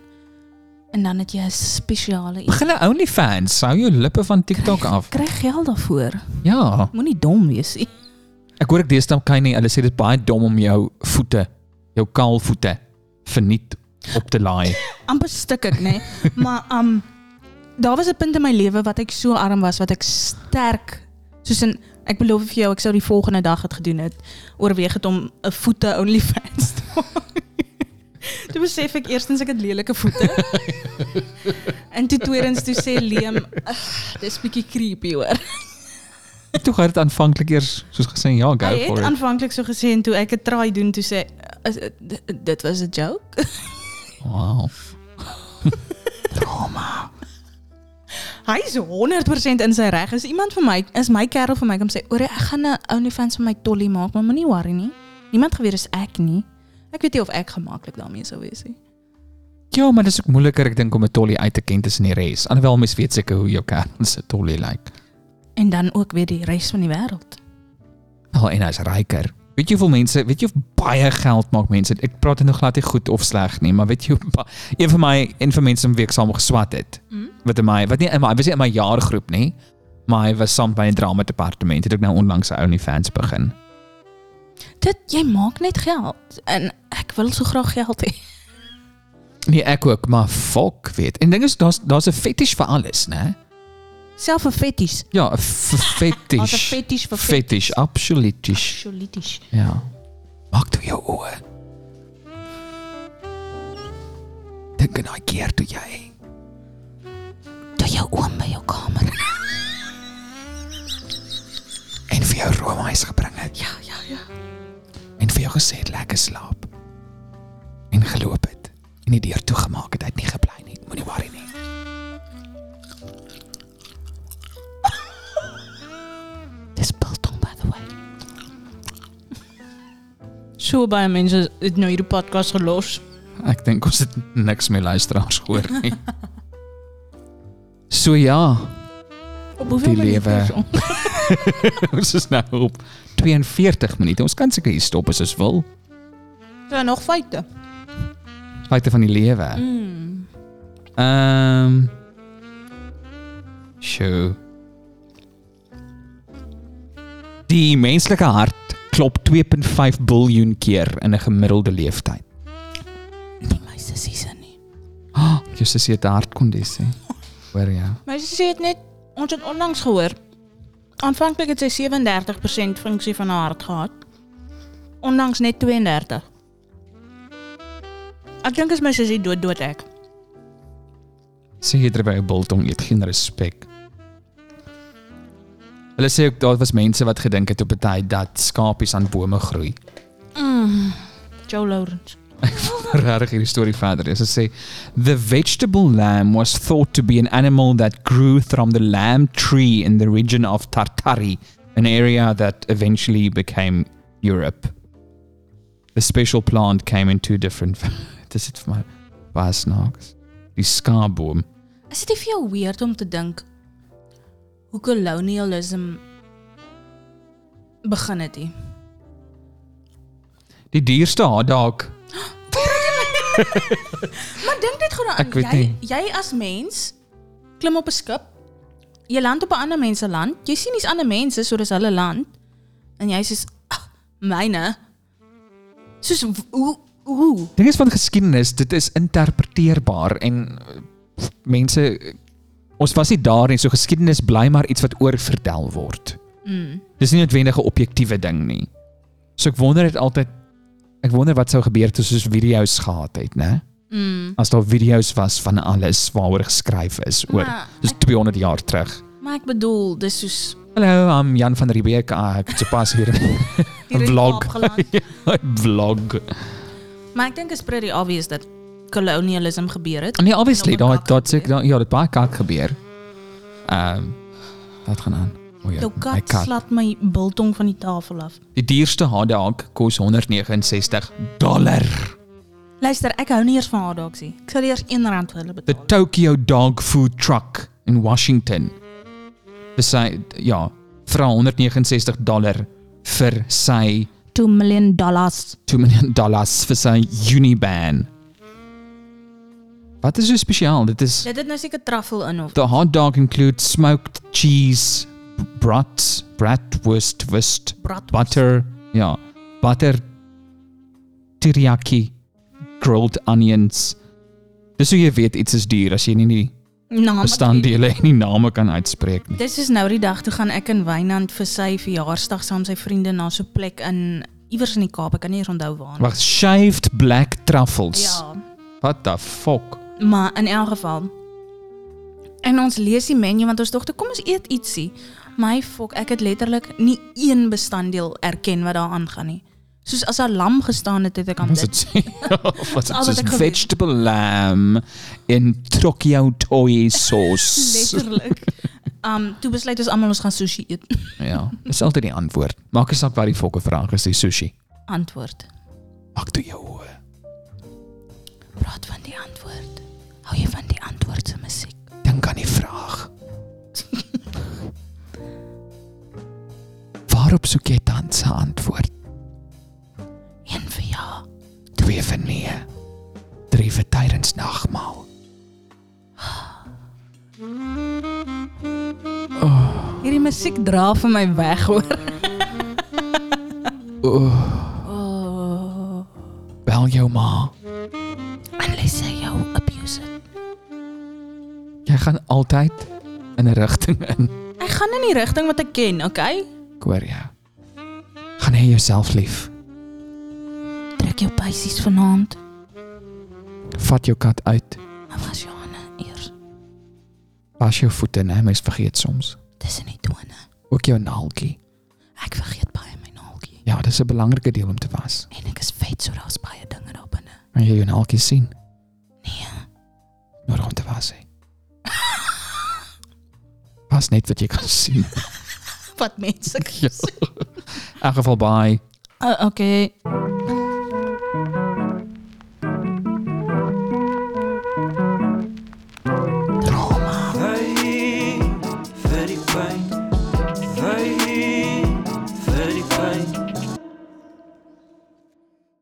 En dan het jy 'n spesiale iets. Begin 'n nou OnlyFans, hou jou lippe van TikTok af. Kry geld daarvoor. Ja. Moenie dom wees nie. Ek hoor ek deesdae kan nie. Hulle sê dit is baie dom om jou voete, jou kaal voete verniet op te laai. amper stik ek nê, nee. maar um daar was 'n punt in my lewe wat ek so arm was wat ek sterk soos in ek beloof vir jou ek sou die volgende dag dit gedoen het oorweeg het om 'n voete OnlyFans te maak. Toe besef ek eerstens ek het lelike voete. en toe tweedens toe sê Liam, "Ag, dis bietjie creepy hoor." Toe gaan dit aanvanklik eers soos gesê ja, go Hy for het it. aanvanklik so gesê en toe ek dit try doen toe sê "Is dit- dit- dit was 'n joke. Wow. Hy is 100% in sy reg. Is iemand vir my, is my kerel vir my kom sê, "Oor, ek gaan 'n OnlyFans vir my tolly maak, maar moenie worry nie." Niemand geweet is ek nie. Ek weet nie of ek gemaklik daarmee sou wees nie. Ja, maar dis ook moeiliker ek dink om 'n tollie uit te ken tussen die res. Alhoewel mens weet seker hoe jou kern se tollie lyk. En dan ook weer die res van die wêreld. Wel, Oh, en hy's ryker. Weet jy hoeveel mense, weet jy hoe baie geld maak mense? Ek praat dit nou glad nie goed of sleg nie, maar weet jy hoe ba- een van my een van mense om week saam geswat het. Mm. Wat in my, wat nie in my, hy was nie in my jaargroep nie, maar hy was saam by 'n drama departement. Het ek nou onlangs sy OnlyFans begin. Dit jy maak net geld en ek wil so graag geld hê. Nee, ek ook, maar fok weet. En ding is daar's daar's 'n fetish vir alles, Ja. né? Self 'n feties. Ja, 'n f- fetish. Daar's 'n feties vir fetish, absolutisch. Solities. Ja. Maak toe jou oë. Dink aan daai keer toe jy Toe jou oom by jou kamer. en vir jou roomys gebring het Ja, ja, ja. en vir jou gesê het lekker slaap. En geloop het en die deur toegemaak het, hy het nie gebly nie. Moenie worry nie. Dis biltong by the way. So baie mense het nou hierdie podcast gelos. Ek dink ons het niks meer luisteraars gehoor nie. So ja, Op hoeveel Die minute lewe. is ons? ons is nou op 42 minute. Ons kan seker hier stop as ons wil. Daar nog feite. Buite van die lewe. Mm. Ehm um, Sjoe. Die menslike hart klop 2.5 biljoen keer in 'n gemiddelde leeftyd. Nie my sussie se er nie. Oh, jy sê jy het 'n hartkondisie. Hoor ja. My sussie het net ons het onlangs gehoor. Aanvanklik het sy 37% funksie van haar hart gehad. Onlangs net 32. Ek dink as my sussie dood dood ek. Sê jy terwyl jy biltong eet, geen respek. Hulle sê ook daar was mense wat gedink het op 'n tyd dat skapies aan bome groei. Mm, Joe Lawrence. regtig hierdie storie verder is. Dit sê the vegetable lamb was thought to be an animal that grew from the lamb tree in the region of Tartary, an area that eventually became Europe. The special plant came in two different Dis dit vir my baie snaaks. Die skaarboom. Is dit nie vir jou weird om te dink hoe colonialism begin het hier? Die dierste hotdog. Maar dink net gou Ek weet daaraan. Jy nie. jy as mens klim op 'n skip. Jy land op 'n ander mens se land. Jy sien dis ander mense, so dis hulle land. En jy sê, "Ag, myne." Soos w- hoe hoe Ding is van geskiedenis, dit is interpreteerbaar en eh, mense ons was nie daar nie, so geskiedenis bly maar iets wat oorvertel word. mm. Dis nie noodwendig 'n objektiewe ding nie. So ek wonder dit altyd ek wonder wat sou gebeur het as ons video's gehad het, né? Mm. As daar video's was van alles waaroor geskryf is oor Maar dis 200 jaar terug. Maar ek bedoel, dis soos Hallo, I'm Jan van Riebeeck. Ah, ek het sopas hier 'n in vlog. Kaap geland. Ja, vlog. Maar ek dink is pretty obvious dat colonialism gebeur het. Nee, obviously, En op daar elkaar daar seker gebeur. daar ja, dit baie kak gebeur. Ehm wat gaan aan? O ja, Jou my kat slaat my biltong van die tafel af. Die duurste hotdog kos 169 dollar. Luister, ek hou nie eers van hotdogs nie. Ek sal eers R1 vir hulle The betaal. Tokyo Dog Food Truck in Washington. Besy ja, vra 169 dollar vir sy 2 million dollars. 2 miljoen dollars vir sy Uniban. Wat is so spesiaal? Dit is Dit het nou seker truffel in of The hot dog includes smoked cheese, brats, bratwurst, wurst, Bratwurst. butter, yeah, butter, teriyaki, grilled onions. Dis hoe jy weet iets is duur as jy nie die naam. bestanddele en die name kan uitspreek nie. Dis is nou die dag toe gaan ek in Wynand vir sy verjaarsdag saam sy vriende na so 'n plek in iewers in die Kaap. Ek kan nie eens onthou waar nie. Wag, shaved black truffles. Ja. What the fuck? Maar in elk geval. En ons lees die menu want ons dogter, kom ons eet ietsie. My fok, ek het letterlik nie een bestanddeel erken wat daar aangaan nie. Soos as 'n lam gestaan het, het ek aan Wat dit. dit? Ja, Wat al wat dit? ek geweet. Vegetable lamb in Tokyo toy sauce. Letterlik. Um toe besluit ons almal ons gaan sushi eet. Ja, dis altyd die antwoord. Maak nie saak wat die fokke vraag is, die sushi. Antwoord. Maak toe jou oë. Praat van die antwoord. Hou jy van die antwoord se musiek? Dink aan die vraag. Waarop soek jy tans 'n antwoord? Een vir ja, Twee vir nee. Drie vir tydens nagmaal. Hierdie musiek dra vir my weg hoor. Bel jou ma. Unless jy jou abuse it. Jy gaan altyd in 'n rigting in. Ek gaan in die rigting wat ek ken, okay? Ek hoor jou. Gaan hê jouself lief. Trek jou pysies vanaand. Vat jou kat uit. Maar was jou hande eers Was jou voete, nee, mens vergeet soms. tussen die tone. Ook jou naaltjie. Ek vergeet baie my naaltjie Ja, dis 'n belangrike deel om te was. en ek is vet so daar's baie dinge daar binne. Kan jy jou naaltjie sien? Nee. nodig om te was hê. Pas net wat jy kan sien. Wat mense. In elk geval baie Ah, Uh, okay.